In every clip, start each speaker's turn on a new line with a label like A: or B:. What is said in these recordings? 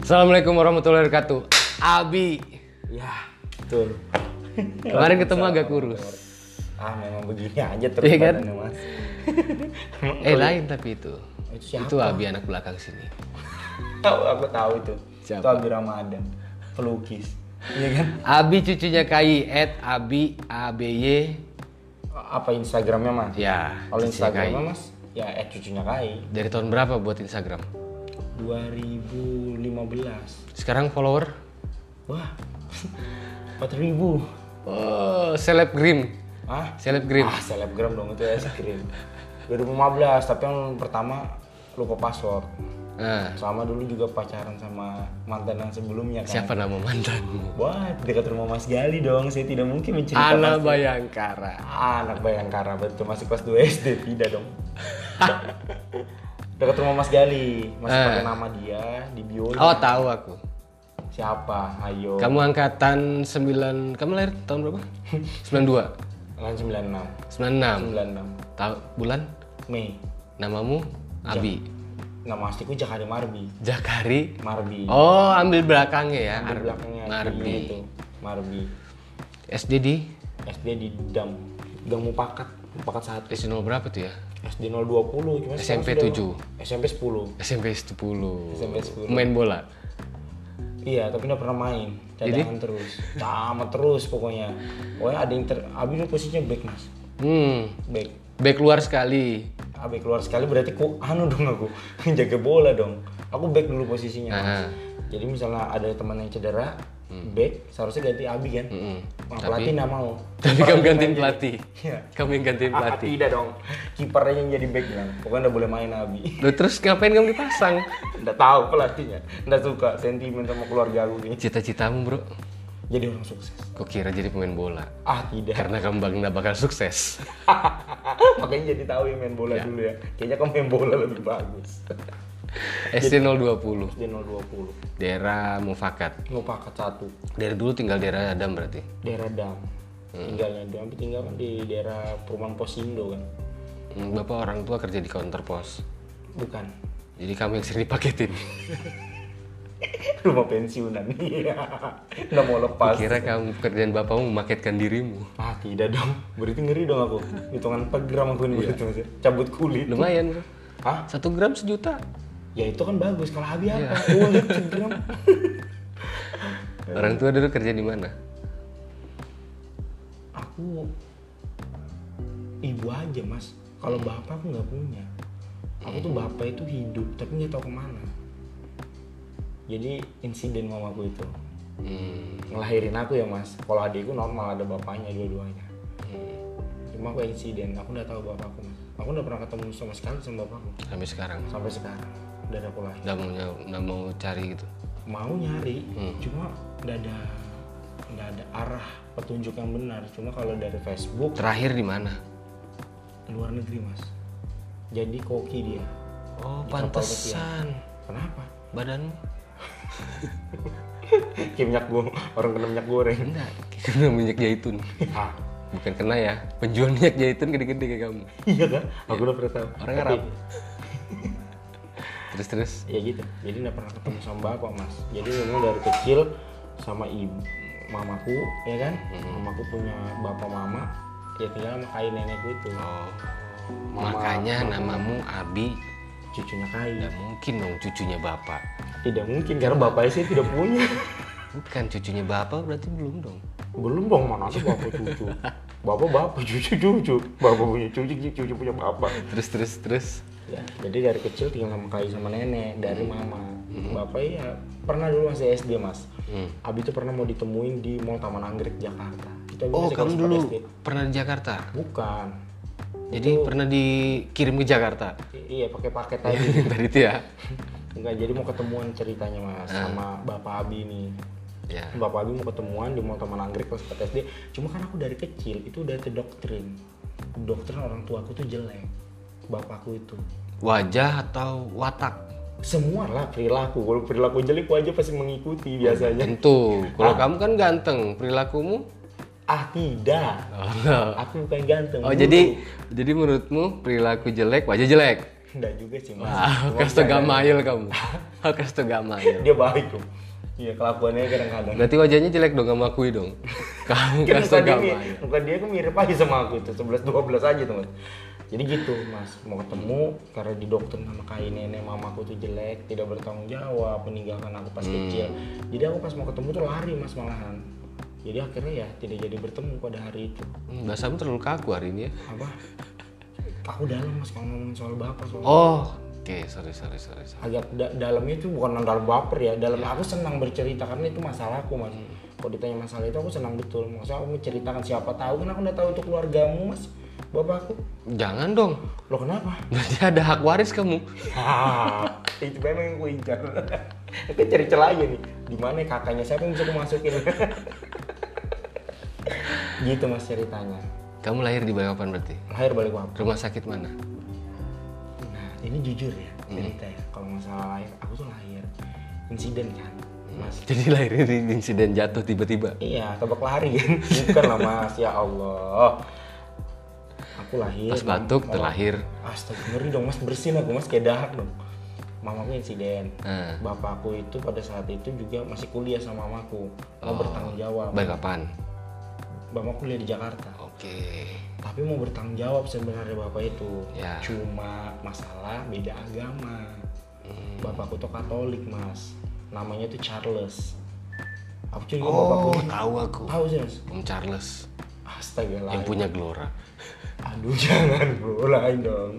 A: Assalamualaikum warahmatullahi wabarakatuh. Abi. Iya.
B: Ya, betul.
A: Kemarin ketemu agak kurus.
B: Ah, memang begini aja terus
A: Iya kan?
B: badannya, Mas.
A: Eh lain tapi itu.
B: Itu siapa?
A: Itu Abi anak belakang sini.
B: Tahu aku tahu itu.
A: Siapa?
B: Itu Abi Ramadan, pelukis. Iya kan?
A: Abi cucunya Kai at Abi ABY
B: Apa Instagramnya Mas?
A: ya.
B: Kalau
A: cucunya
B: Instagramnya
A: Kai.
B: Mas, ya eh cucunya Kai.
A: Dari tahun berapa buat Instagram?
B: 2015.
A: Sekarang follower?
B: Wah. 4000.
A: Oh, selebgram.
B: Ah,
A: Selebgram.
B: ah selebgram dong itu es krim. 2015, tapi yang pertama lupa password.
A: Nah,
B: Sama dulu juga pacaran sama mantan yang sebelumnya kan.
A: siapa nama mantanmu?
B: Wah, dekat rumah Mas Gali dong. Saya tidak mungkin menceritakan.
A: Ana Bayangkara.
B: Anak Bayangkara betul masih kelas 2 SD tidak dong. Dekat rumah Mas Gali, masih
A: Eh.
B: pakai nama dia di bio.
A: Oh, tahu aku.
B: Siapa? Ayo.
A: Kamu angkatan 9, kamu lahir tahun berapa? 92.
B: Kan 96.
A: 96.
B: 96.
A: Tahu bulan?
B: Mei.
A: Namamu Abi.
B: Nama asliku Jakari Marbi.
A: Jakari.
B: Marbi.
A: Oh, ambil belakangnya ya.
B: Di
A: Ar-
B: belakangnya
A: Marbi.
B: Iya, itu. Marbi.
A: SD di
B: SD di Dam. Dam Mupakat. Mupakat saat
A: SD nol berapa tuh ya?
B: SD 020 cuma sekarang
A: SMP
B: sudah-
A: 7. SMP
B: SMP 10.
A: 10.
B: SMP 10.
A: Main bola.
B: Iya, tapi nggak pernah main. Cadangan terus. Sama terus pokoknya. Pokoknya ada yang ter... Abi dulu posisinya back, Mas.
A: Hmm.
B: Back.
A: Back luar sekali.
B: Abi keluar sekali berarti ku anu dong aku. Jaga bola dong. Aku back dulu posisinya, Mas.
A: Aha. Hmm.
B: Jadi misalnya ada teman yang cedera, back, seharusnya ganti Abi kan. Nah, pelatih nggak mau.
A: Tapi kamu gantiin pelatih.
B: Iya.
A: Kamu yang gantiin
B: Ah,
A: pelatih.
B: tidak dong. Kipernya yang jadi back bilang, pokoknya nggak boleh main Abi.
A: Loh, terus ngapain kamu dipasang?
B: Nggak tahu pelatihnya. Nggak suka sentimen sama keluarga aku ini.
A: Cita-citamu, Bro.
B: Jadi orang sukses.
A: Kok kira jadi pemain bola?
B: Ah, tidak.
A: Karena kamu bangga bakal sukses.
B: Makanya jadi tahu yang main bola dulu ya. Kayaknya kamu main bola lebih bagus.
A: SD 020.
B: Di 020.
A: Daerah Mufakat.
B: Mupakat satu.
A: Dari dulu tinggal daerah Adam berarti.
B: Daerah Dam. Tinggalnya Dam tapi tinggal kan di daerah perumahan Posindo kan.
A: Hmm, Bapak orang tua kerja di counter pos.
B: Bukan.
A: Jadi kamu yang sering dipaketin.
B: Rumah pensiunan. Iya. Nggak mau lepas.
A: Kira kamu kerjaan bapakmu memaketkan dirimu.
B: Ah tidak dong. Berarti ngeri dong aku. Hitungan per gram aku ini berarti Mas. ya. Cabut kulit.
A: Lumayan bro.
B: Hah?
A: Satu gram sejuta.
B: Ya itu kan bagus. Kalau habis apa? Kulit per gram.
A: Orang tua dulu kerja di mana?
B: aku ibu aja mas kalau bapak aku nggak punya aku tuh bapak itu hidup tapi nggak tahu kemana jadi insiden mamaku itu
A: Hmm.
B: ngelahirin aku ya mas kalau adikku normal ada bapaknya dua-duanya cuma aku insiden aku nggak tahu bapakku mas aku nggak pernah ketemu sama sekali sama bapakku
A: Sampai sekarang.
B: sampai sekarang udah ada lahir
A: Nggak mau nyau- nggak mau cari gitu.
B: mau nyari cuma nggak ada nggak ada arah petunjuk yang benar cuma kalau dari Facebook
A: Terakhir di mana?
B: luar negeri mas jadi koki dia
A: Oh
B: Di
A: pantesan.
B: kenapa
A: Badanmu?
B: kayak minyak goreng orang kena minyak goreng
A: Enggak. Kena minyak zaitun.
B: Ah,
A: Bukan kena ya. Penjual minyak zaitun gede-gede kayak kamu.
B: iya kan aku udah pernah tahu
A: Orang
B: Tapi-
A: Arab. Terus terus.
B: ya gitu jadi nggak pernah ketemu sama bapak mas jadi memang dari kecil sama ibu mamaku ya kan mamaku punya bapak mama ya tinggal sama kai nenekku itu
A: Oh. Makanya namamu Abi.
B: cucunya kai
A: Nggak mungkin dong cucunya bapak.
B: tidak mungkin karena bapaknya sih tidak punya
A: Bukan cucunya bapak berarti belum dong.
B: belum dong mana ada bapak cucu bapak bapak cucu cucu bapak punya cucu cucu punya bapak
A: Terus terus terus.
B: ya jadi dari kecil tinggal sama kai sama nenek dari
A: Hmm.
B: mama bapak ya pernah dulu masih SD mas
A: Hmm.
B: abi tuh pernah mau ditemuin di mall Taman Anggrek Jakarta Itu Abi
A: Oh,
B: masih
A: kamu
B: kelas
A: dulu
B: 4 SD.
A: pernah di Jakarta?
B: bukan
A: Jadi pernah dikirim ke Jakarta?
B: I- iya pakai paket aja
A: Tadi itu ya?
B: enggak jadi mau ketemuan ceritanya mas
A: Ah.
B: sama bapak abi nih
A: Ya.
B: bapak abi mau ketemuan di mall Taman Anggrek kelas 4 SD cuma kan aku dari kecil itu udah terdoktrin doktrin orang tua aku tuh jelek bapakku itu
A: Wajah atau watak?
B: semua lah perilaku kalau perilaku jelek wajah pasti mengikuti
A: Hmm.
B: biasanya
A: Tentu. Kalau kamu kan ganteng, perilakumu?
B: Ah tidak,
A: Oh, no.
B: aku bukan ganteng.
A: Oh,
B: dulu.
A: jadi jadi menurutmu perilaku jelek, wajah jelek?
B: Enggak juga sih mas.
A: Ah,
B: Cuma
A: Kasto Gamayel kamu. Kasto Gamayel.
B: Dia baik tuh. Iya kelakuannya kadang-kadang.
A: Berarti wajahnya jelek dong sama aku dong. Kamu
B: Mungkin
A: Kasto
B: muka dia, mi-
A: Gamayel.
B: muka dia tuh mirip aja sama aku itu 11 12 aja teman. Jadi gitu mas mau ketemu karena di dokter sama kain nenek mamaku tuh jelek tidak bertanggung jawab meninggalkan aku pas
A: Hmm.
B: kecil. Jadi aku pas mau ketemu tuh lari mas malahan. Jadi akhirnya ya tidak jadi bertemu pada hari itu.
A: Hmm, Bahasamu terlalu kaku hari ini ya.
B: Apa? Aku dalam mas kalau ngomongin soal bapak soal
A: Oh, oke, sorry, sorry, sorry, sorry.
B: agak da- dalamnya itu bukan dalam baper ya dalam aku senang bercerita karena itu masalahku mas kalau ditanya masalah itu aku senang betul maksudnya aku menceritakan siapa tahu kan aku udah tahu itu keluargamu mas bapakku
A: Jangan dong.
B: lo kenapa
A: Berarti ada hak waris kamu.
B: Hah, itu memang yang gue incar aku cari celah aja nih di mana kakaknya siapa yang bisa aku masukin gitu mas ceritanya
A: Kamu lahir di Balikpapan berarti.
B: lahir balik aku
A: Rumah sakit mana?
B: Nah, ini jujur ya cerita ya. Kalau masalah lahir, aku tuh lahir insiden kan, mas.
A: Jadi lahirnya di insiden jatuh tiba-tiba.
B: Iya, tebak lari kan. Bukan lah mas, ya Allah. Aku lahir.
A: Pas batuk terlahir.
B: Astaga, ngeri dong mas, bersin aku mas, kayak dahak dong. Mamaku insiden.
A: Nah,
B: Bapakku itu pada saat itu juga masih kuliah sama mamaku.
A: Oh,
B: Mau bertanggung jawab.
A: Balikpapan.
B: Mamaku kuliah di Jakarta.
A: Oke.
B: Tapi mau bertanggung jawab sebenarnya bapak itu.
A: Ya.
B: Cuma masalah beda agama.
A: Hmm.
B: Bapakku tuh Katolik mas. Namanya tuh Charles. Aku curiga bapakku.
A: Oh, tahu aku.
B: Tahu sih mas.
A: Om Charles
B: Astaga lah.
A: yang punya Gelora.
B: Aduh jangan bro lain dong.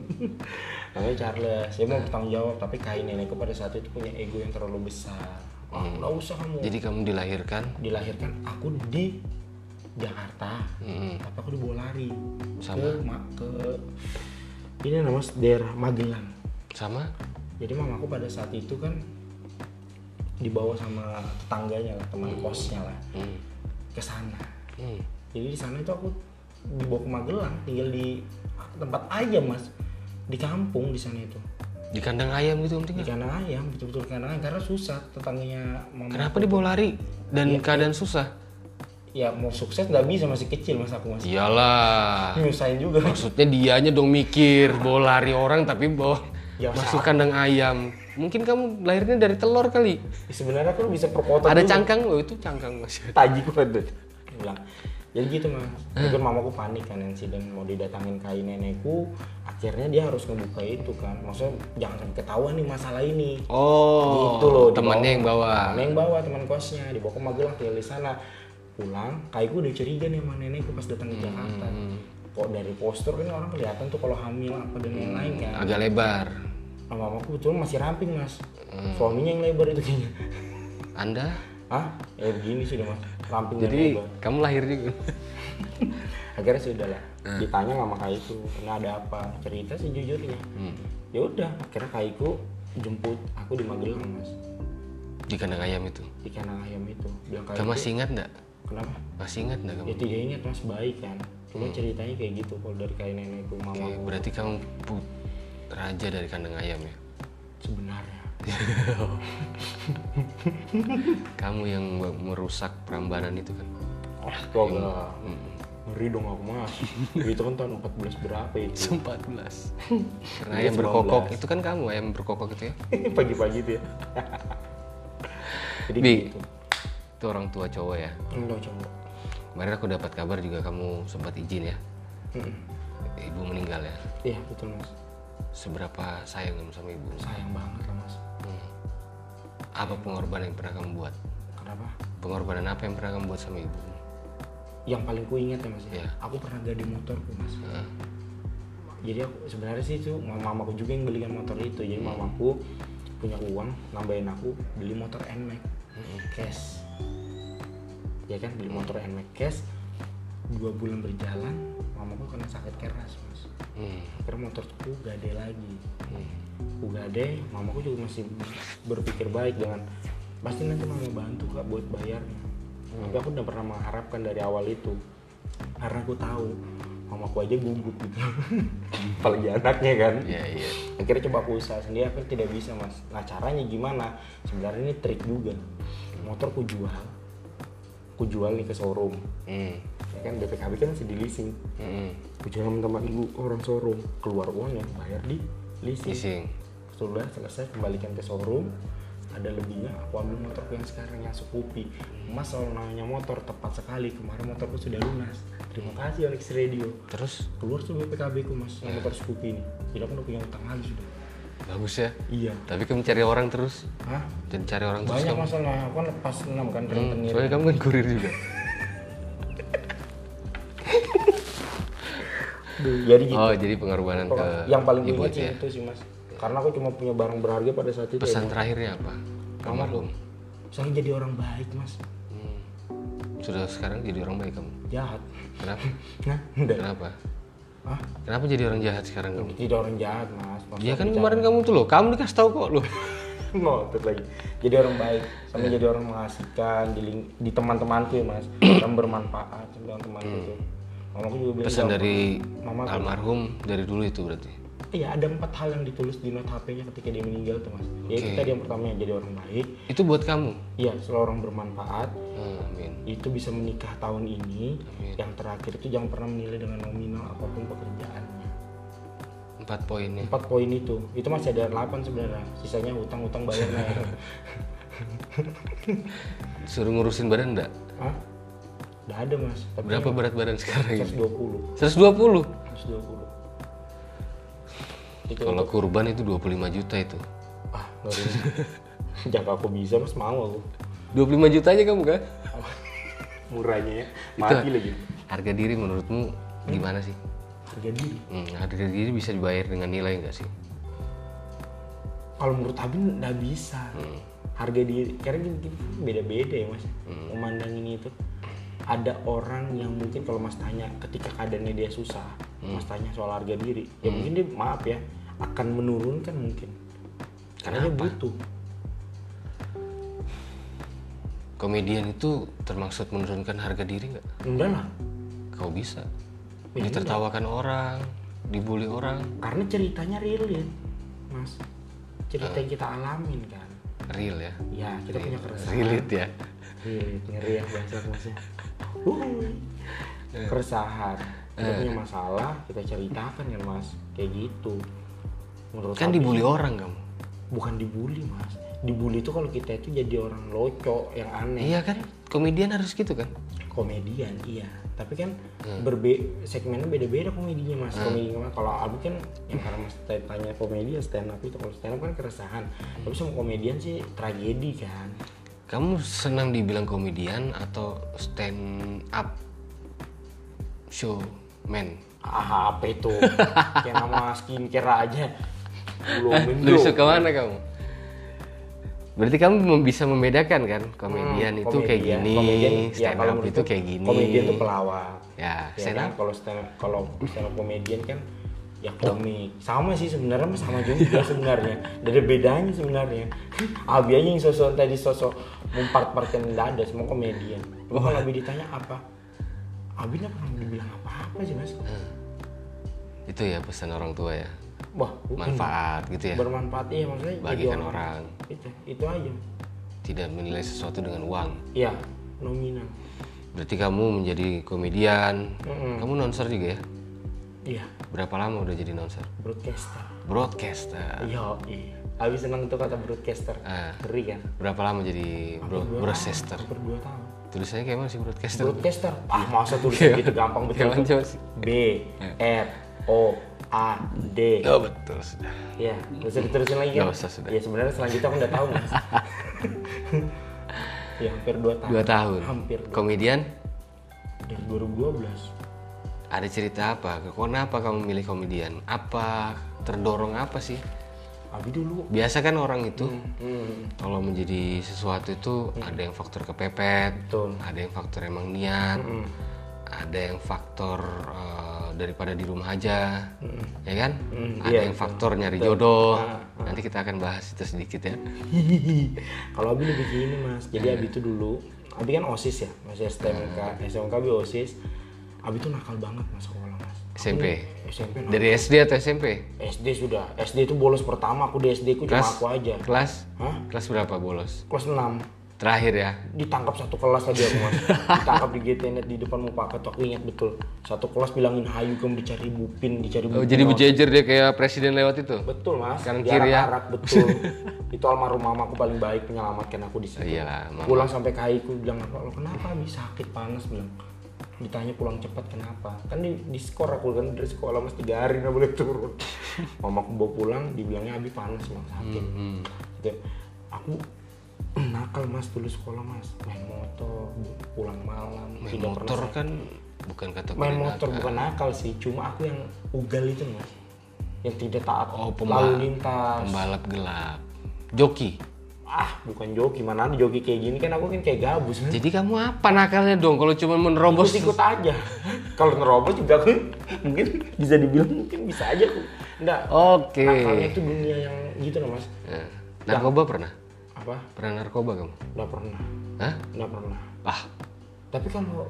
B: Namanya Charles, dia mau bertanggung jawab tapi kain nenekku pada saat itu punya ego yang terlalu besar. Ah, nggak usah kamu.
A: Hmm. Jadi kamu dilahirkan
B: Dilahirkan aku di Jakarta,
A: Mm-mm.
B: tapi aku dibawa lari
A: Sama?
B: ke, ma- ke ini namanya daerah Magelang.
A: sama
B: Jadi mamaku pada saat itu kan dibawa sama tetangganya lah, teman kosnya lah,
A: Hmm.
B: ke sana.
A: Hmm.
B: jadi di sana itu aku dibawa ke Magelang tinggal di tempat ayam mas di kampung di sana itu
A: di kandang ayam gitu om
B: di
A: tinggal.
B: kandang ayam betul-betul kandang ayam karena susah tetangganya mama
A: Kenapa dibawa lari dan keadaan susah?
B: ya mau sukses nggak bisa masih kecil mas
A: Iya.
B: aku mas
A: Iyalah.
B: nyusahin juga
A: Maksudnya dianya dong mikir bawa lari orang tapi bawa
B: Ya,
A: masuk kandang ayam. Mungkin kamu lahirnya dari telur kali.
B: sebenarnya aku bisa perkota
A: Ada
B: juga.
A: cangkang loh itu cangkang mas.
B: taji banget bilang jadi gitu mas
A: Eh.
B: akhirnya mamaku panik kan insiden mau didatangin kain nenekku akhirnya dia harus ngebuka itu kan maksudnya jangan sampai ketahuan nih masalah ini
A: Oh,
B: gitu loh
A: temannya yang bawa.
B: temannya yang bawa teman kosnya dibawa ke Magelang tinggal di sana pulang kayak gue udah curiga nih sama nenekku pas datang ke Jakarta kok dari postur ini orang kelihatan tuh kalau hamil apa dan lain-lain kan
A: Agak lebar.
B: sama mamaku betul masih ramping mas suaminya yang lebar itu kayaknya
A: Anda?
B: ah ya begini sudah mas ramping dan
A: Jadi
B: lebar.
A: kamu lahir juga.
B: akhirnya sudah lah ditanya sama kaiku ini ada apa cerita sejujurnya
A: Hmm.
B: ya udah akhirnya kaiku jemput aku di Magelang mas
A: di kandang ayam itu.
B: di kandang ayam itu bilang kaiku
A: Kamu masih ingat nggak?
B: kenapa
A: Masih ingat nggak kamu?
B: ya tidak ingat mas baik kan cuma ceritanya kayak gitu kalau dari kain nenekku
A: Oke,
B: mama
A: berarti kamu put raja dari kandang ayam ya.
B: sebenarnya
A: Kamu yang me- merusak perambanan itu kan.
B: ah goblok ngeri dong aku mas itu kan tahun 14 berapa itu
A: 14. Karena ayam berkokok itu kan kamu ayam berkokok itu ya.
B: pagi-pagi itu ya jadi
A: Bi.
B: gitu
A: Itu orang tua cowok ya.
B: enggak cowok
A: Kemarin aku dapat kabar juga kamu sempat izin ya.
B: Mm-mm.
A: Ibu meninggal ya.
B: iya betul mas
A: Seberapa sayang kamu sama ibu?
B: sayang banget lah mas
A: Apa pengorbanan yang pernah kamu buat?
B: kenapa
A: Pengorbanan apa yang pernah kamu buat sama ibu?
B: yang paling ku ingat ya mas ya,
A: Iya.
B: aku pernah gade motorku mas jadi aku sebenarnya sih itu mama- mamaku juga yang belikan motor itu jadi mamaku punya uang nambahin aku beli motor Nmax cash ya kan beli motor Nmax cash dua bulan berjalan mamaku kena sakit keras mas
A: Hmm.
B: akhirnya motorku gade lagi
A: hmm.
B: aku gade mamaku juga masih berpikir baik dengan pasti nanti mama bantu kak buat bayarnya tapi aku udah pernah mengharapkan dari awal itu karena aku tahu mamaku aja gugup gitu apalagi anaknya kan
A: Iya, iya.
B: akhirnya coba aku usaha sendiri akhirnya tidak bisa mas nah caranya gimana sebenarnya ini trik juga motor ku jual ku jual nih ke showroom
A: Hmm.
B: ya kan BPKB kan masih di leasing
A: Hmm.
B: ku jual sama teman ibu orang showroom keluar uang yang bayar di leasing.
A: leasing.
B: Setelah selesai kembalikan ke showroom, ada lebihnya aku ambil motorku yang sekarang yang Scoopy. Mas selalu nanya motor tepat sekali. Kemarin motorku sudah lunas. Terima kasih Alex Radio.
A: Terus
B: Keluar tuh PKB ku mas, yang motor Scoopy ini. Kita pun udah punya utang lagi sudah.
A: bagus ya.
B: Iya.
A: Tapi kamu cari orang terus
B: Hah?
A: dan cari orang terus
B: Banyak
A: kamu.
B: masalah. Aku kan lepas enam kan keren
A: Hmm, soalnya kamu kan kurir juga.
B: Jadi gitu.
A: Oh, jadi pengorbanan ke
B: yang paling gue
A: ibu
B: ingat
A: aja ya.
B: itu sih mas. Karena aku cuma punya barang berharga pada saat itu.
A: Pesan terakhirnya apa? Almarhum.
B: Soalnya jadi orang baik mas.
A: Hmm. Sudah sekarang jadi orang baik kamu.
B: Jahat.
A: Kenapa?
B: Nah, udah.
A: Kenapa?
B: Ah,
A: Kenapa jadi orang jahat sekarang kamu?
B: tidak orang jahat mas. Maksud
A: Iya
B: aku
A: kan
B: jahat.
A: kemarin kamu tuh loh, kamu dikasih tahu kok loh.
B: ngotot lagi jadi orang baik sama
A: Iya.
B: jadi orang mengasihkan di, ling- di teman-temanku ya mas yang bermanfaat sama teman-temanku itu mamaku juga
A: Hmm.
B: bilang
A: Pesan
B: "Jangan-
A: dari
B: Iya, mama aku-
A: almarhum dari dulu itu berarti.
B: iya ada empat hal yang ditulis di note HP-nya ketika dia meninggal tuh mas yaitu
A: Oke.
B: tadi yang pertama yang jadi orang baik
A: Itu buat kamu.
B: iya selalu orang bermanfaat
A: Hmm, amin.
B: itu bisa menikah tahun ini
A: Amin.
B: yang terakhir itu jangan pernah menilai dengan nominal apapun pekerjaannya
A: Empat poinnya.
B: empat poin itu itu masih ada delapan sebenarnya sisanya hutang-hutang bayarnya
A: Suruh ngurusin badan enggak?
B: Hah? Udah ada mas tapi
A: Berapa berat badan sekarang ini?
B: 120
A: 120.
B: 120 itu
A: Kalau kurban itu 25 juta itu.
B: ah nggak bisa jaka aku bisa mas mau aku
A: 25 juta aja kamu kan?
B: murahnya ya mati lagi
A: Harga diri
B: Hmm.
A: menurutmu gimana sih?
B: harga diri
A: Hmm, harga diri bisa dibayar dengan nilai nggak sih?
B: kalau menurut Abin nggak bisa harga diri karena gini, gini, beda-beda ya mas memandang ini itu ada orang yang mungkin kalau mas tanya ketika keadaannya dia susah mas tanya soal harga diri ya mungkin dia maaf ya akan menurunkan mungkin karena dia butuh
A: Komedian itu termaksud menurunkan harga diri nggak?
B: enggak lah
A: Kau bisa.
B: Ya,
A: Ditertawakan orang, dibully orang,
B: karena ceritanya relate mas cerita yang kita alamin kan
A: real ya.
B: ya kita punya keresahan
A: Relate ya.
B: relate ngeri ya bahasa masnya Wuih. keresahan kita punya masalah kita ceritakan kan mas kayak gitu menurut
A: Kan
B: aku
A: dibully orang kamu.
B: bukan dibully mas dibully itu kalau kita itu jadi orang loco yang aneh
A: Iya kan? Komedian harus gitu kan?
B: komedian iya tapi kan berbe segmennya beda-beda komedinya mas komedi kemana- kalau Abi kan yang karena mas tanya- tanya komedi ya stand up itu kalau stand up kan keresahan tapi sama komedian sih tragedi kan
A: Kamu senang dibilang komedian atau stand up showman?
B: ah apa itu kayak nama skincare aja belum
A: Lebih suka mana kamu? Berarti kamu mem- bisa membedakan kan
B: Hmm,
A: komedian itu kayak gini, stand up itu kayak gini.
B: ya, komedian itu pelawak
A: Ya,
B: ya
A: stand
B: kan?
A: up.
B: kalau stand kalau stand up komedian kan ya komik sama sih sebenarnya mah sama juga sebenarnya Nggak ada bedanya sebenarnya Abi aja yang sosok tadi sosok mempart-partin nggak ada semua komedian Lu kalau Abi ditanya apa Abi nggak pernah dibilang apa-apa sih mas
A: Hmm. Itu ya pesan orang tua ya.
B: wah
A: Manfaat gitu ya.
B: bermanfaat iya maksudnya jadi
A: Bagikan
B: orang-
A: orang.
B: itu itu aja
A: Tidak menilai sesuatu dengan uang.
B: iya nominal
A: Berarti kamu menjadi komedian.
B: Mm-mm.
A: Kamu announcer juga ya?
B: iya
A: Berapa lama udah jadi announcer?
B: broadcaster
A: Broadcaster.
B: iya iya Abi senang tuh kata broadcaster
A: Ah.
B: ngeri kan
A: Berapa lama jadi bro-
B: Dua
A: broadcaster? Iya.
B: tahun, hampir dua tahun
A: Tulisannya kayak mana sih broadcaster?
B: broadcaster ah masa tulisnya gitu gampang betul
A: Kayak mana
B: tuh.
A: coba sih?
B: B R O A D
A: Oh betul sudah.
B: ya nggak usah diterusin lagi
A: Nggak
B: kan
A: usah, sudah.
B: ya sebenarnya selanjutnya aku nggak tahu mas ya hampir dua tahun
A: Dua tahun.
B: hampir
A: Komedian
B: dari 2012
A: ada cerita apa? Kenapa kamu milih komedian? Apa terdorong apa sih?
B: Abi dulu
A: Biasa kan orang itu
B: hmm.
A: kalau menjadi sesuatu itu ada yang faktor kepepet,
B: Betul. Hmm.
A: ada yang faktor emang niat, ada yang faktor eh, daripada di rumah aja, ya kan?
B: Mm,
A: ada
B: iya, Ah,
A: yang faktor nyari jodoh. Nanti kita akan bahas itu sedikit ya.
B: kalau Abi lebih gini mas
A: Iya.
B: jadi Abi itu dulu Abi kan osis ya masih STMK SMK Abi osis Abi tuh nakal banget mas sekolah mas
A: SMP.
B: SMP nakal.
A: Dari SD atau SMP?
B: SD sudah SD itu bolos pertama aku di SD ku cuma
A: Kelas?
B: aku aja
A: Kelas?
B: Hah?
A: Kelas berapa bolos?
B: kelas 6
A: Terakhir ya.
B: ditangkap satu kelas lagi aku mas ditangkap di GTNet di depan Mupakat aku ingat betul satu kelas bilangin hayu kamu dicari bupin dicari bupin
A: Oh, jadi berjejer dia kayak presiden lewat itu.
B: betul mas
A: Kanan kiri ya.
B: Diarak-arak, betul itu almarhum mamaku paling baik menyelamatkan aku di situ
A: Iyalah, mama.
B: pulang sampai kaiku bilang apa lo kenapa Bi? sakit panas bilang ditanya pulang cepat kenapa kan di, di skor aku kan dari sekolah mas tiga hari nggak boleh turun mama aku bawa pulang dibilangnya abi panas bang sakit
A: Hmm,
B: Gitu. aku nakal mas dulu sekolah mas main motor pulang malam
A: Main
B: tidak pernah
A: motor
B: saya-
A: kan bukan kategori
B: main
A: nakal.
B: motor bukan nakal sih cuma aku yang ugal itu mas yang tidak taat
A: Oh, pemba-
B: lalu lintas
A: Pembalap gelap. Joki.
B: ah bukan joki mana ada joki kayak gini kan aku kan kayak gabus
A: Jadi kamu apa nakalnya dong kalau cuma menerobos?
B: ikut aja kalau nerobos juga aku mungkin bisa dibilang mungkin bisa aja aku enggak
A: Oke.
B: nakalnya itu dunia yang gitu loh mas
A: Nah, narkoba pernah?
B: apa
A: Pernah narkoba kamu?
B: enggak pernah
A: Hah?
B: enggak pernah
A: Ah,
B: tapi kalau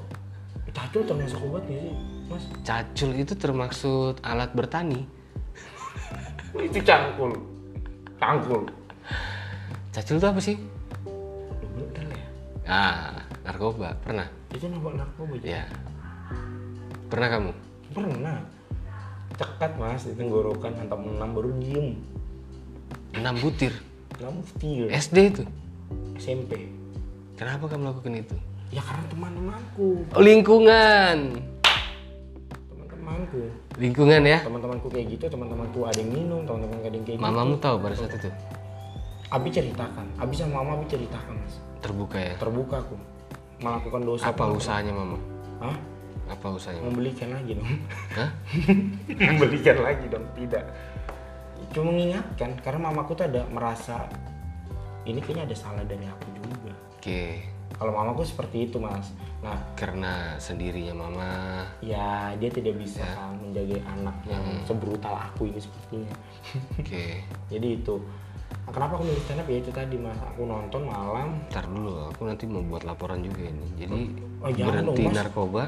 B: cacul termasuk obat gak sih mas
A: cacul itu termaksud alat bertani.
B: itu cangkul cangkul
A: Cacul itu apa sih?
B: Lu bener ya
A: Ah, narkoba. Pernah?
B: itu nabak narkoba ya
A: Ya. Pernah kamu?
B: pernah cekat mas di tenggorokan hantam enam baru diem
A: 6 butir.
B: kamu setir
A: SD itu.
B: SMP
A: Kenapa kamu lakukan itu?
B: ya karena teman-temanku
A: Oh, lingkungan.
B: teman-temanku
A: Lingkungan ya.
B: teman-temanku kayak gitu teman-temanku ada yang minum teman-teman ada yang kayak gitu
A: Mamamu tahu pada saat itu.
B: abi ceritakan abi sama mama abi ceritakan mas
A: Terbuka ya.
B: terbuka aku melakukan dosa
A: Apa usahanya mama?
B: Hah?
A: Apa usahanya?
B: membelikan lagi dong
A: Hah?
B: membelikan lagi dong tidak cuma mengingatkan karena mamaku tuh ada merasa ini kayaknya ada salah dari aku juga
A: Oke.
B: kalau mamaku seperti itu mas nah
A: Karena sendirinya mama.
B: ya dia tidak bisa menjaga anak yang sebrutal aku ini sepertinya
A: Oke.
B: jadi itu Nah, kenapa aku milih stand up ya itu tadi mas aku nonton malam
A: Ntar dulu, aku nanti mau buat laporan juga ini. Jadi
B: Oh, jangan
A: berhenti
B: dong, Mas.
A: narkoba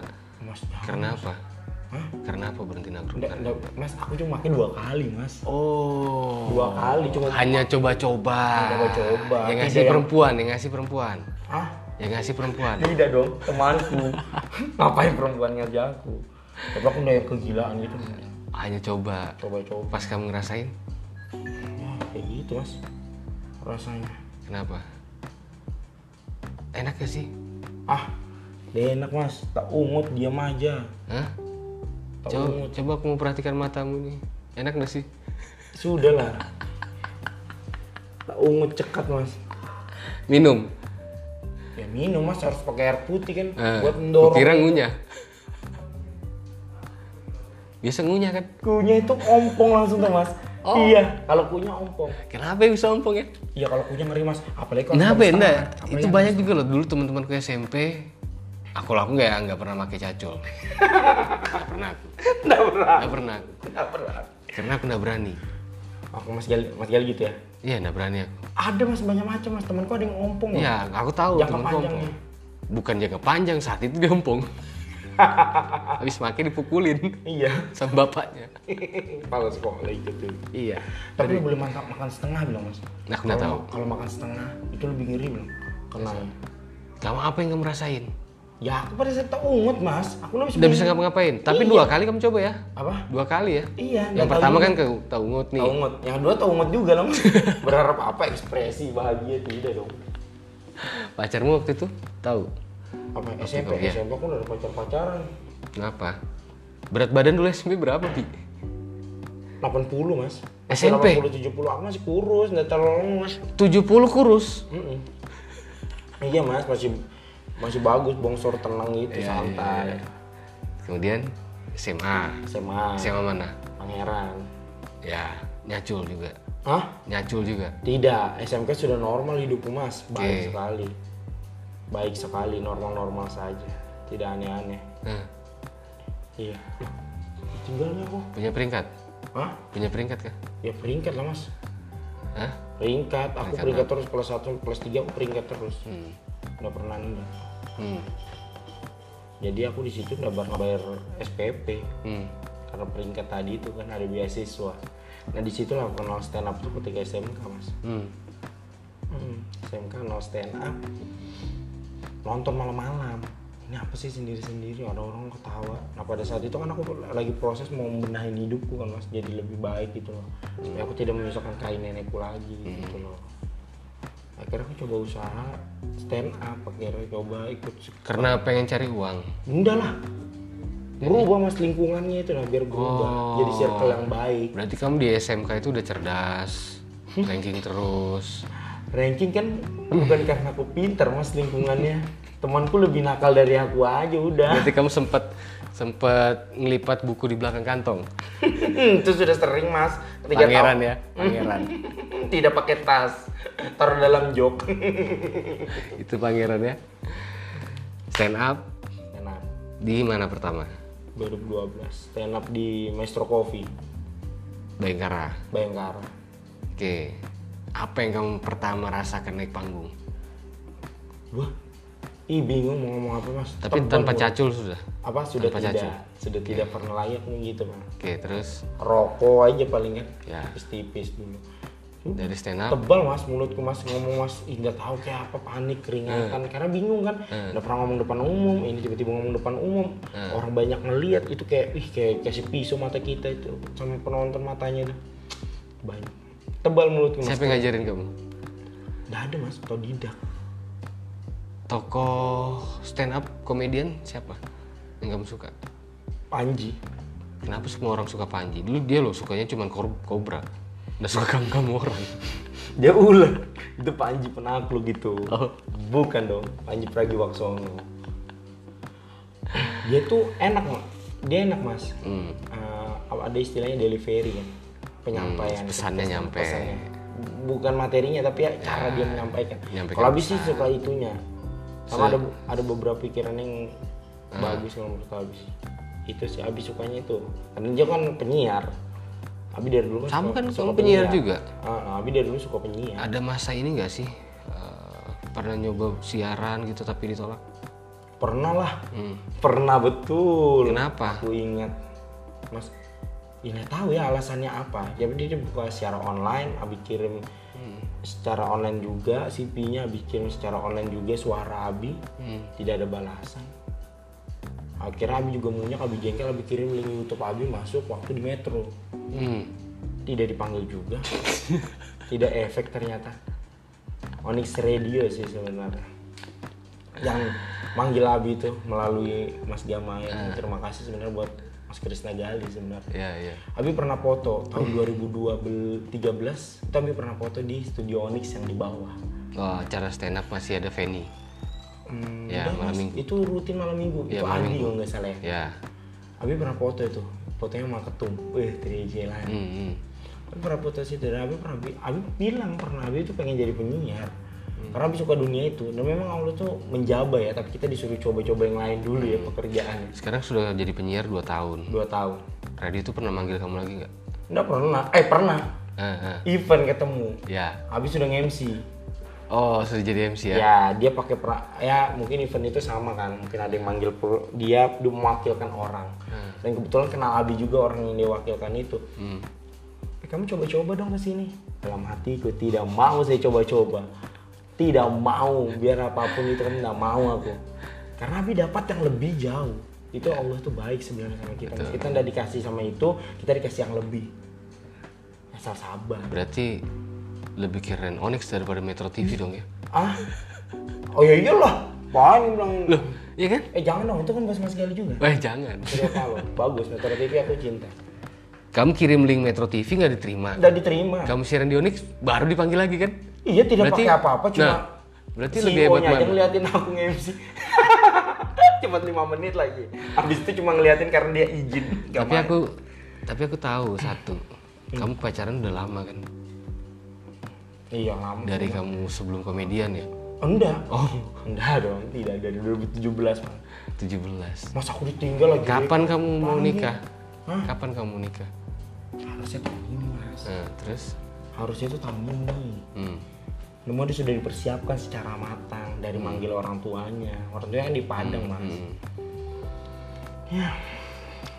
B: mas jangan.
A: karena apa?
B: Hah?
A: Karena apa berhenti
B: Nggak,
A: narkoba?
B: nggak, mas aku cuma pakai dua kali mas
A: Oh.
B: dua kali cuma
A: Hanya coba-coba.
B: Coba-coba.
A: Yang
B: Tidak
A: ngasih
B: yang-
A: perempuan, yang ngasih perempuan.
B: ah
A: Yang ngasih perempuan.
B: tidak dong temanku ngapain perempuan ngerja aku tapi aku udah yang kegilaan gitu
A: Hanya coba.
B: coba-coba
A: Pas kamu ngerasain,
B: ya, kayak gitu mas rasanya
A: kenapa? Enak gak sih?
B: ah dia enak mas tak ungut diam aja
A: Hah?
B: tak
A: Coba,
B: ungut
A: coba aku mau perhatikan matamu nih. Enak gak sih?
B: sudah lah tak ungut cekat mas
A: Minum.
B: ya minum mas harus pakai air putih kan
A: Eh,
B: buat mendorong
A: Kira ngunyah. Biasa ngunyah kan?
B: kunya itu ompong langsung tuh mas
A: Oh.
B: iya kalau kunya ompong
A: Kenapa ya bisa ompong ya?
B: Iya kalau punya ngeri mas, apalagi kalau
A: Kenapa ya?
B: sudah
A: Enggak.
B: besar. Apalagi
A: Itu
B: kalau-
A: banyak juga loh dulu teman-temanku SMP. Aku lah aku nggak ya? nggak pernah pakai cacul. Nggak pernah aku.
B: Nggak pernah.
A: Nggak pernah aku.
B: Nggak pernah.
A: Karena aku nggak berani.
B: Aku mas Gali, mas Gali gitu ya.
A: Iya nggak berani aku.
B: Ada mas banyak macam mas temanku ada yang ompong loh.
A: Iya aku tahu
B: Jangka
A: temanku
B: panjang
A: ompong.
B: ya.
A: Bukan jaga panjang saat itu dia ompong. Habis makin dipukulin
B: Iya.
A: sama bapaknya.
B: Kepala sekolah Iya. gitu.
A: Iya.
B: Tapi lu boleh makan makan setengah bilang mas.
A: Nah, aku nggak
B: Kalau-
A: tahu.
B: Kalau makan setengah itu lebih ngeri bilang. Karena
A: Kamu apa yang kamu rasain?
B: ya aku pada saat tak ungut mas, aku udah
A: Udah bisa ngapa-ngapain. Tapi dua kali kamu coba ya.
B: apa?
A: Dua kali ya.
B: Iya. nggak
A: Yang
B: tahu
A: pertama
B: juga.
A: kan ke Taungut
B: Tahu
A: nih.
B: ungut, yang kedua tahu ungut juga dong. Berharap apa ekspresi bahagia tidak dong.
A: Pacarmu waktu itu tahu.
B: Apa SMP
A: iya.
B: SMP aku udah ada pacar pacaran.
A: Kenapa? Berat badan dulu SMP berapa, Pi?
B: 80 mas
A: SMP?
B: 80 70 aku masih kurus nggak terlalu mas
A: 70 kurus.
B: Mm-mm. iya mas masih masih bagus bongsor tenang gitu santai
A: Kemudian SMA.
B: SMA
A: SMA mana?
B: pangeran
A: Ya, nyacul juga.
B: hah
A: Nyacul juga.
B: tidak SMK sudah normal hidupku mas
A: Oke.
B: baik sekali baik sekali normal-normal saja tidak aneh-aneh
A: Nah,
B: iya Loh, tinggalnya aku
A: punya peringkat?
B: hah
A: Punya peringkat kah?
B: ya peringkat lah mas
A: Hah?
B: peringkat
A: Nah,
B: aku peringkat terus plus satu plus tiga aku peringkat terus nggak pernah nunda
A: Hmm.
B: jadi aku di situ nggak bakal bayar SPP
A: Hmm.
B: karena peringkat tadi itu kan ada beasiswa nah di situ lah aku kenal stand up tuh ketika SMK mas
A: Hmm.
B: Hmm, SMK no stand up nonton malam-malam ini apa sih sendiri-sendiri ada orang ketawa nah pada saat itu kan aku lagi proses mau membenahin hidupku kan mas jadi lebih baik gitu loh Supaya aku tidak menyusahkan kain nenekku lagi gitu loh akhirnya aku coba usaha stand up akhirnya coba ikut
A: Karena pengen cari uang.
B: enggak lah berubah mas lingkungannya itu lah biar berubah
A: Oh.
B: jadi circle yang baik
A: Berarti kamu di SMK itu udah cerdas, ranking terus.
B: ranking kan bukan karena aku pinter mas lingkungannya temanku lebih nakal dari aku aja udah
A: Berarti kamu sempet sempet ngelipat buku di belakang kantong.
B: itu sudah sering mas ketika
A: Pangeran ya, pangeran.
B: tidak pakai tas taruh dalam jok
A: itu pangeran ya. Stand up
B: enak
A: di mana pertama?
B: 2012 stand up di Maestro Coffee
A: Bayangkara.
B: Bayangkara
A: Oke. Apa yang kamu pertama rasakan naik panggung?
B: wah ih bingung mau ngomong apa mas
A: Tapi
B: Tebal
A: tanpa
B: gua.
A: cacul sudah.
B: apa sudah
A: tanpa Iya.
B: tidak
A: cacing.
B: sudah tidak pernah layak nih gitu mas
A: Oke, terus
B: rokok aja paling kan
A: Ya.
B: tipis-tipis dulu Hmm?
A: dari stand up
B: tebal mas mulutku mas ngomong mas ih, nggak tahu kayak apa panik keringatan karena bingung kan udah pernah ngomong depan umum ini tiba-tiba ngomong depan umum orang banyak ngeliat itu kayak ih kayak kasih pisau mata kita itu sama penonton matanya itu banyak tebal mulutku mas
A: siapa yang ngajarin kamu?
B: nggak ada mas otodidak
A: Tokoh stand up komedian siapa yang kamu suka?
B: Panji
A: Kenapa semua orang suka Panji? Dulu dia loh sukanya cuman kor- kobra. Nggak suka kamu kamu orang.
B: dia ular itu Panji penakluk gitu
A: Oh.
B: bukan dong Panji Pragiwaksono dia tuh enak mas dia enak mas
A: Hmm.
B: Eh, ada istilahnya delivery kan penyampaian
A: Hmm, pesannya nyampe. Nah,
B: pesannya. bukan materinya tapi ya cara dia menyampaikan
A: nyampaikan
B: kalau habis sih suka itunya sama ada ada beberapa pikiran yang
A: Ah.
B: bagus kalau menurut habis itu sih habis sukanya itu karena dia kan penyiar Abi dari dulu
A: Sama
B: suka-
A: kan,
B: suka
A: kamu penyiar juga.
B: Ah, Abi dari dulu suka penyiar
A: Ada masa ini nggak sih eh, pernah nyoba siaran gitu tapi ditolak?
B: pernah lah
A: Hmm.
B: pernah betul
A: Kenapa?
B: aku ingat mas ini tahu ya alasannya apa ya dia buka secara online abi kirim
A: Hmm.
B: secara online juga CV-nya abi kirim secara online juga suara abi
A: Hmm.
B: tidak ada balasan akhirnya abi juga maunya abi jengkel abi kirim link YouTube abi masuk waktu di metro
A: Hmm.
B: tidak dipanggil juga tidak efek ternyata Onyx Radio sih sebenarnya yang manggil Abi itu melalui Mas Gamain
A: Ah.
B: terima kasih sebenarnya buat Mas Krisna Gali sebenarnya
A: Iya iya.
B: Abi pernah foto tahun
A: Hmm.
B: 2012 13 itu Abi pernah foto di studio Onyx yang di bawah
A: Wah, Oh, acara stand up masih ada Feni.
B: Hmm,
A: Ya,
B: udah,
A: malam
B: Mas.
A: minggu.
B: itu rutin malam minggu
A: Iya,
B: itu
A: malam
B: Adi kalau nggak salah ya
A: Ya.
B: Abi pernah foto itu fotonya sama ketum wih 3 lah
A: Hmm, hmm.
B: Kan pernah putus itu dan Abi pernah bi- Abi bilang pernah Abi itu pengen jadi penyiar karena Abi suka dunia itu dan memang Allah tuh menjaba ya tapi kita disuruh coba-coba yang lain dulu ya pekerjaannya
A: Sekarang sudah jadi penyiar 2 tahun.
B: dua tahun
A: Radio itu pernah manggil kamu lagi nggak?
B: nggak pernah eh pernah
A: Eh, eh.
B: event ketemu
A: Ya.
B: Abi sudah nge-MC
A: Oh, sudah jadi MC ya?
B: ya dia pakai pra ya mungkin event itu sama kan mungkin ada yang manggil pro- dia dia mewakilkan orang dan kebetulan kenal Abi juga orang yang diwakilkan itu
A: Hmm.
B: eh, kamu coba-coba dong ke sini dalam hatiku tidak mau saya coba-coba tidak mau biar apapun itu kamu tidak mau aku karena Abi dapat yang lebih jauh itu Allah tuh baik sebenarnya sama kita Meski kita tidak dikasih sama itu kita dikasih yang lebih asal sabar
A: Berarti lebih keren Onyx daripada Metro TV dong ya?
B: ah oh ya iyalah paling bilang
A: Loh, iya kan?
B: eh jangan dong itu kan bahas mas Gali juga
A: Eh, jangan.
B: Surya Paloh bagus Metro TV aku cinta
A: Kamu kirim link Metro TV nggak diterima.
B: udah diterima
A: Kamu siaran di Onyx, baru dipanggil lagi kan?
B: iya tidak
A: Berarti-
B: pakai apa-apa cuma
A: Nah, berarti lebih hebat
B: CEO-nya aja
A: mana?
B: ngeliatin aku nge-MC cuma 5 menit lagi habis itu cuma ngeliatin karena dia izin Gak
A: tapi
B: mau.
A: aku tapi aku tahu satu. Kamu pacaran udah lama kan?
B: iya lama
A: Dari kamu sebelum komedian ya?
B: enggak
A: Oh,
B: enggak dong tidak dari 2017 Mas.
A: 17.
B: mas aku ditinggal lagi
A: Kapan kamu mau
B: Panik.
A: nikah?
B: Hah?
A: Kapan kamu nikah?
B: harusnya tahun ini mas
A: Nah, terus?
B: harusnya itu tahun ini
A: Hmm.
B: Semua dia sudah dipersiapkan secara matang dari manggil orang tuanya. Orang tuanya kan di Padang, Mas. Ya.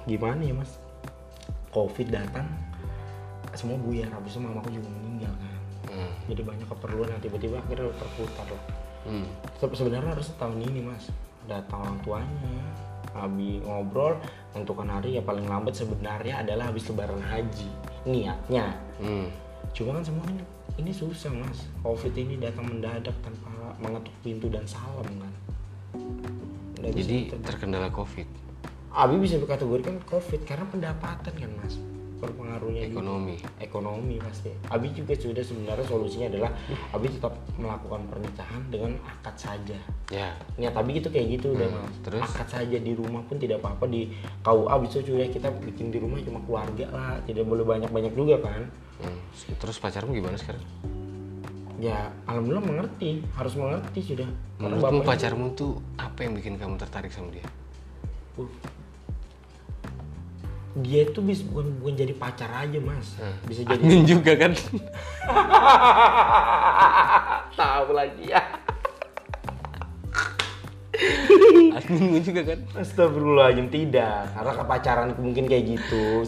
B: Gimana ya, Mas? Covid datang, semua buyar. Habis itu mamaku juga meninggal kan.
A: Hmm.
B: jadi banyak keperluan yang tiba-tiba akhirnya lu terputar loh
A: Hmm.
B: Se- sebenarnya harus tahun ini mas datang orang tuanya habis ngobrol tentukan hari ya paling lambat sebenarnya adalah habis lebaran haji niatnya
A: Hmm.
B: cuma kan semua kan ini susah mas covid ini datang mendadak tanpa mengetuk pintu dan salam kan Nggak bisa
A: Jadi
B: kita-
A: terkendala covid,
B: Abi bisa dikategorikan covid karena pendapatan kan mas berpengaruhnya juga.
A: ekonomi.
B: ekonomi pasti Abi juga sudah sebenarnya solusinya adalah Abi tetap melakukan pernikahan dengan akad saja
A: Ya.
B: niat Abi gitu kayak gitu udah mas
A: Hmm, terus?
B: akad saja di rumah pun tidak apa-apa di KUA bisa juga kita bikin di rumah cuma keluarga lah tidak boleh banyak-banyak juga kan
A: Hmm. Terus pacarmu gimana sekarang?
B: ya alhamdulillah mengerti harus mengerti sudah karena
A: Menurutmu
B: bapaknya-
A: pacarmu tuh apa yang bikin kamu tertarik sama dia?
B: Uh. dia tuh bisa bukan, bukan jadi pacar aja mas bisa jadi
A: Admin juga kan?
B: tahu lagi ya
A: Adminmu juga kan?
B: Astagfirullahaladzim tidak karena kepacaran mungkin kayak gitu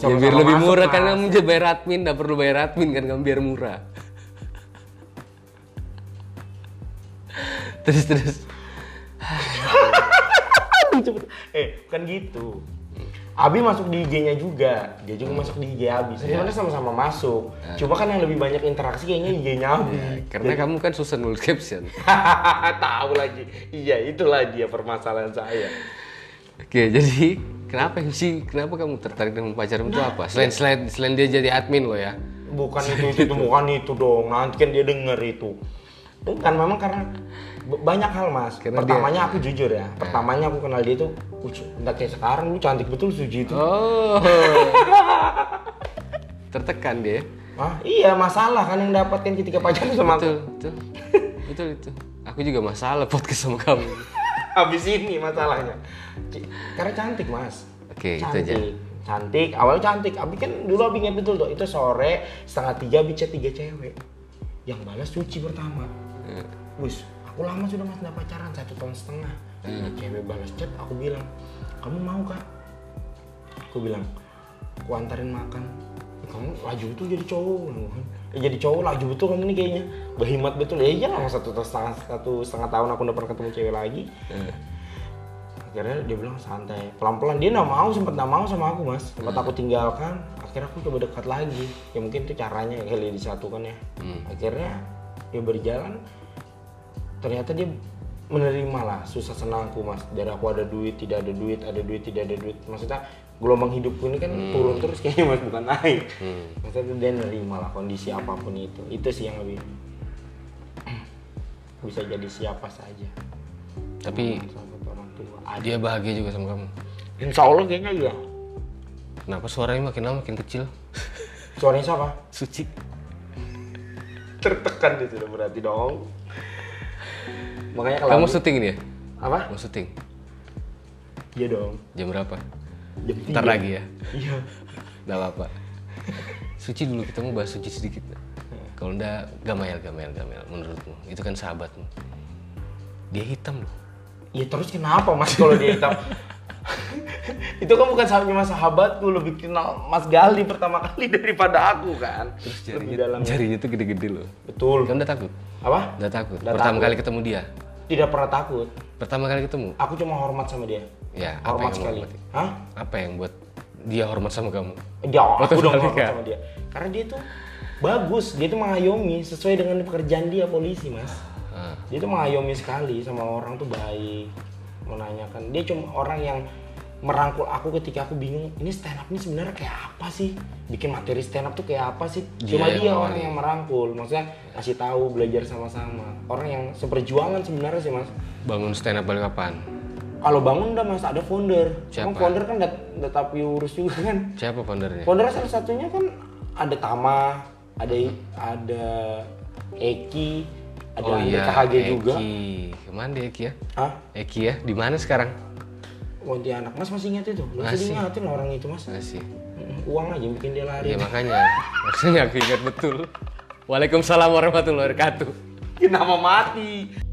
A: Ya,
B: Sama-sama
A: biar lebih
B: masuk,
A: murah kan
B: Mas.
A: kamu aja bayar admin, nggak perlu bayar admin kan kamu biar murah. terus terus.
B: Aduh, cepet. eh bukan gitu Abi masuk di IG-nya juga, dia juga masuk di IG Abi. Sebenarnya sama-sama masuk, cuma kan yang lebih banyak interaksi kayaknya IG-nya Abi.
A: Karena kamu kan susah nulis caption.
B: iya. Tahu lagi, iya itulah dia permasalahan saya.
A: Oke, jadi kenapa MC? Kenapa kamu tertarik dengan pacarmu itu apa? Selain selain selain dia jadi admin lo ya.
B: Bukan itu, itu, itu, bukan itu dong. Nanti kan dia denger itu. Bukan memang karena b- banyak hal mas.
A: Karena
B: Pertamanya aku jujur ya. Pertamanya aku kenal dia tuh, udah kayak sekarang lu cantik betul Suji itu.
A: Oh. Tertekan dia.
B: Ah iya masalah kan yang dapatkan ketika pacaran sama aku.
A: Betul, betul. Betul itu. Aku juga masalah podcast sama kamu.
B: Habis ini masalahnya. C- Karena cantik mas.
A: Oke, itu aja.
B: cantik, cantik. Awalnya cantik. Abi kan dulu abi ingat betul tuh. Itu sore setengah tiga abi chat tiga cewek. Yang balas suci pertama.
A: Hmm.
B: Wis, aku lama sudah mas nggak pacaran satu tahun setengah.
A: Hmm.
B: Cewek balas chat, aku bilang, kamu mau kak? Aku bilang, aku antarin makan. Kamu laju betul jadi cowok, aku bilang. Eh, jadi cowok laju betul kamu nih kayaknya. Berhimat betul. Ya iya lama satu tahun setengah satu setengah tahun aku udah pernah ketemu cewek lagi. Akhirnya dia bilang santai, pelan-pelan dia nggak mau sempet nggak mau sama aku mas, sempet aku tinggalkan. Akhirnya aku coba dekat lagi. Ya mungkin itu caranya kali disatukan ya. Akhirnya dia berjalan ternyata dia menerima lah susah senangku mas dari aku ada duit tidak ada duit ada duit tidak ada duit maksudnya gelombang hidupku ini kan turun terus kayaknya mas bukan naik maksudnya dia nerima lah kondisi apapun itu itu sih yang lebih bisa jadi siapa saja
A: Tapi
B: sahabat orang tua Ad-
A: dia bahagia juga sama kamu.
B: insya Allah kayaknya iya
A: Kenapa suaranya makin lama makin kecil?
B: suaranya siapa
A: Suci.
B: tertekan itu sudah berarti dong makanya kalau
A: Kamu
B: aku-
A: syuting dia?
B: apa
A: Mau syuting?
B: iya dong
A: Jam berapa?
B: jam
A: Ntar
B: tiga.
A: lagi ya.
B: iya
A: Gak apa-apa. Suci dulu kita mau bahas suci sedikit. Kalau ndak gamayel gamayel gamayel menurutmu itu kan sahabatmu. Dia hitam loh.
B: Ya terus kenapa mas kalau dia hitam? itu kan bukan sahabatnya mas sahabatku lebih kenal mas Gali pertama kali daripada aku kan
A: Terus
B: lebih
A: jarinya,
B: dalam
A: jarinya tuh gede-gede loh.
B: betul
A: Kamu udah takut?
B: apa
A: Udah takut.
B: Nggak
A: Pertama
B: takut.
A: kali ketemu dia.
B: tidak pernah takut
A: Pertama kali ketemu.
B: aku cuma hormat sama dia
A: Ya, apa
B: hormat
A: yang
B: sekali
A: hormati?
B: hah
A: Apa yang buat dia hormat sama kamu?
B: dia aku dong
A: terbalik
B: hormat
A: ya?
B: sama dia karena dia tuh bagus dia tuh mengayomi sesuai dengan pekerjaan dia polisi mas
A: Ah,
B: dia tuh mengayomi sekali sama orang tuh baik menanyakan dia cuma orang yang merangkul aku ketika aku bingung ini stand up ini sebenarnya kayak apa sih bikin materi stand up tuh kayak apa sih cuma
A: Dia yang
B: dia
A: awali.
B: orang yang merangkul maksudnya kasih tahu belajar sama-sama orang yang seperjuangan sebenarnya sih mas
A: bangun stand up balik kapan?
B: kalau bangun udah mas ada founder
A: Siapa?
B: Emang founder kan dat tetapi urus juga kan
A: Siapa foundernya?
B: Pondera salah satunya kan ada Tama, ada ada Eki, ada KHG
A: Oh, iya,
B: juga.
A: Eki. Kemana dia Eki ya?
B: Hah?
A: Eki ya, di mana sekarang?
B: Pontianak. Mas masih ingat itu? Lu
A: Masih.
B: Masih diingatin lah orang itu, Mas.
A: Masih.
B: Uang aja bikin dia lari.
A: Ya makanya, maksudnya aku ingat betul. Waalaikumsalam warahmatullahi wabarakatuh.
B: Kenapa mati?